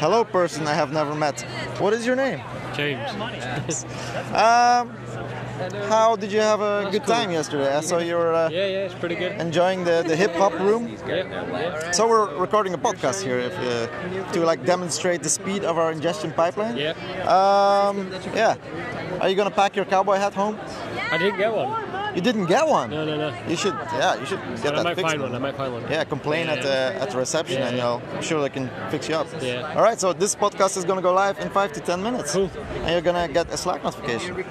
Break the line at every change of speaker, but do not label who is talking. Hello, person I have never met. What is your name?
James.
Um, how did you have a good time yesterday? I saw you were uh,
Yeah, yeah, it's pretty good.
enjoying the, the hip hop room.
Yeah,
So we're recording a podcast here if, uh, to like demonstrate the speed of our ingestion pipeline.
yeah.
Um, yeah. Are you gonna pack your cowboy hat home?
I didn't get one.
You didn't get one.
No, no, no.
You should. Yeah, you should get
But I
that
might
fixed.
find one. I might find one.
Yeah, complain at the at the reception,
Yeah,
and
yeah.
I'll, I'm sure they can fix you up.
Yeah.
All right, so this podcast is gonna go live in five to ten minutes,
Cool.
and you're gonna get a Slack notification.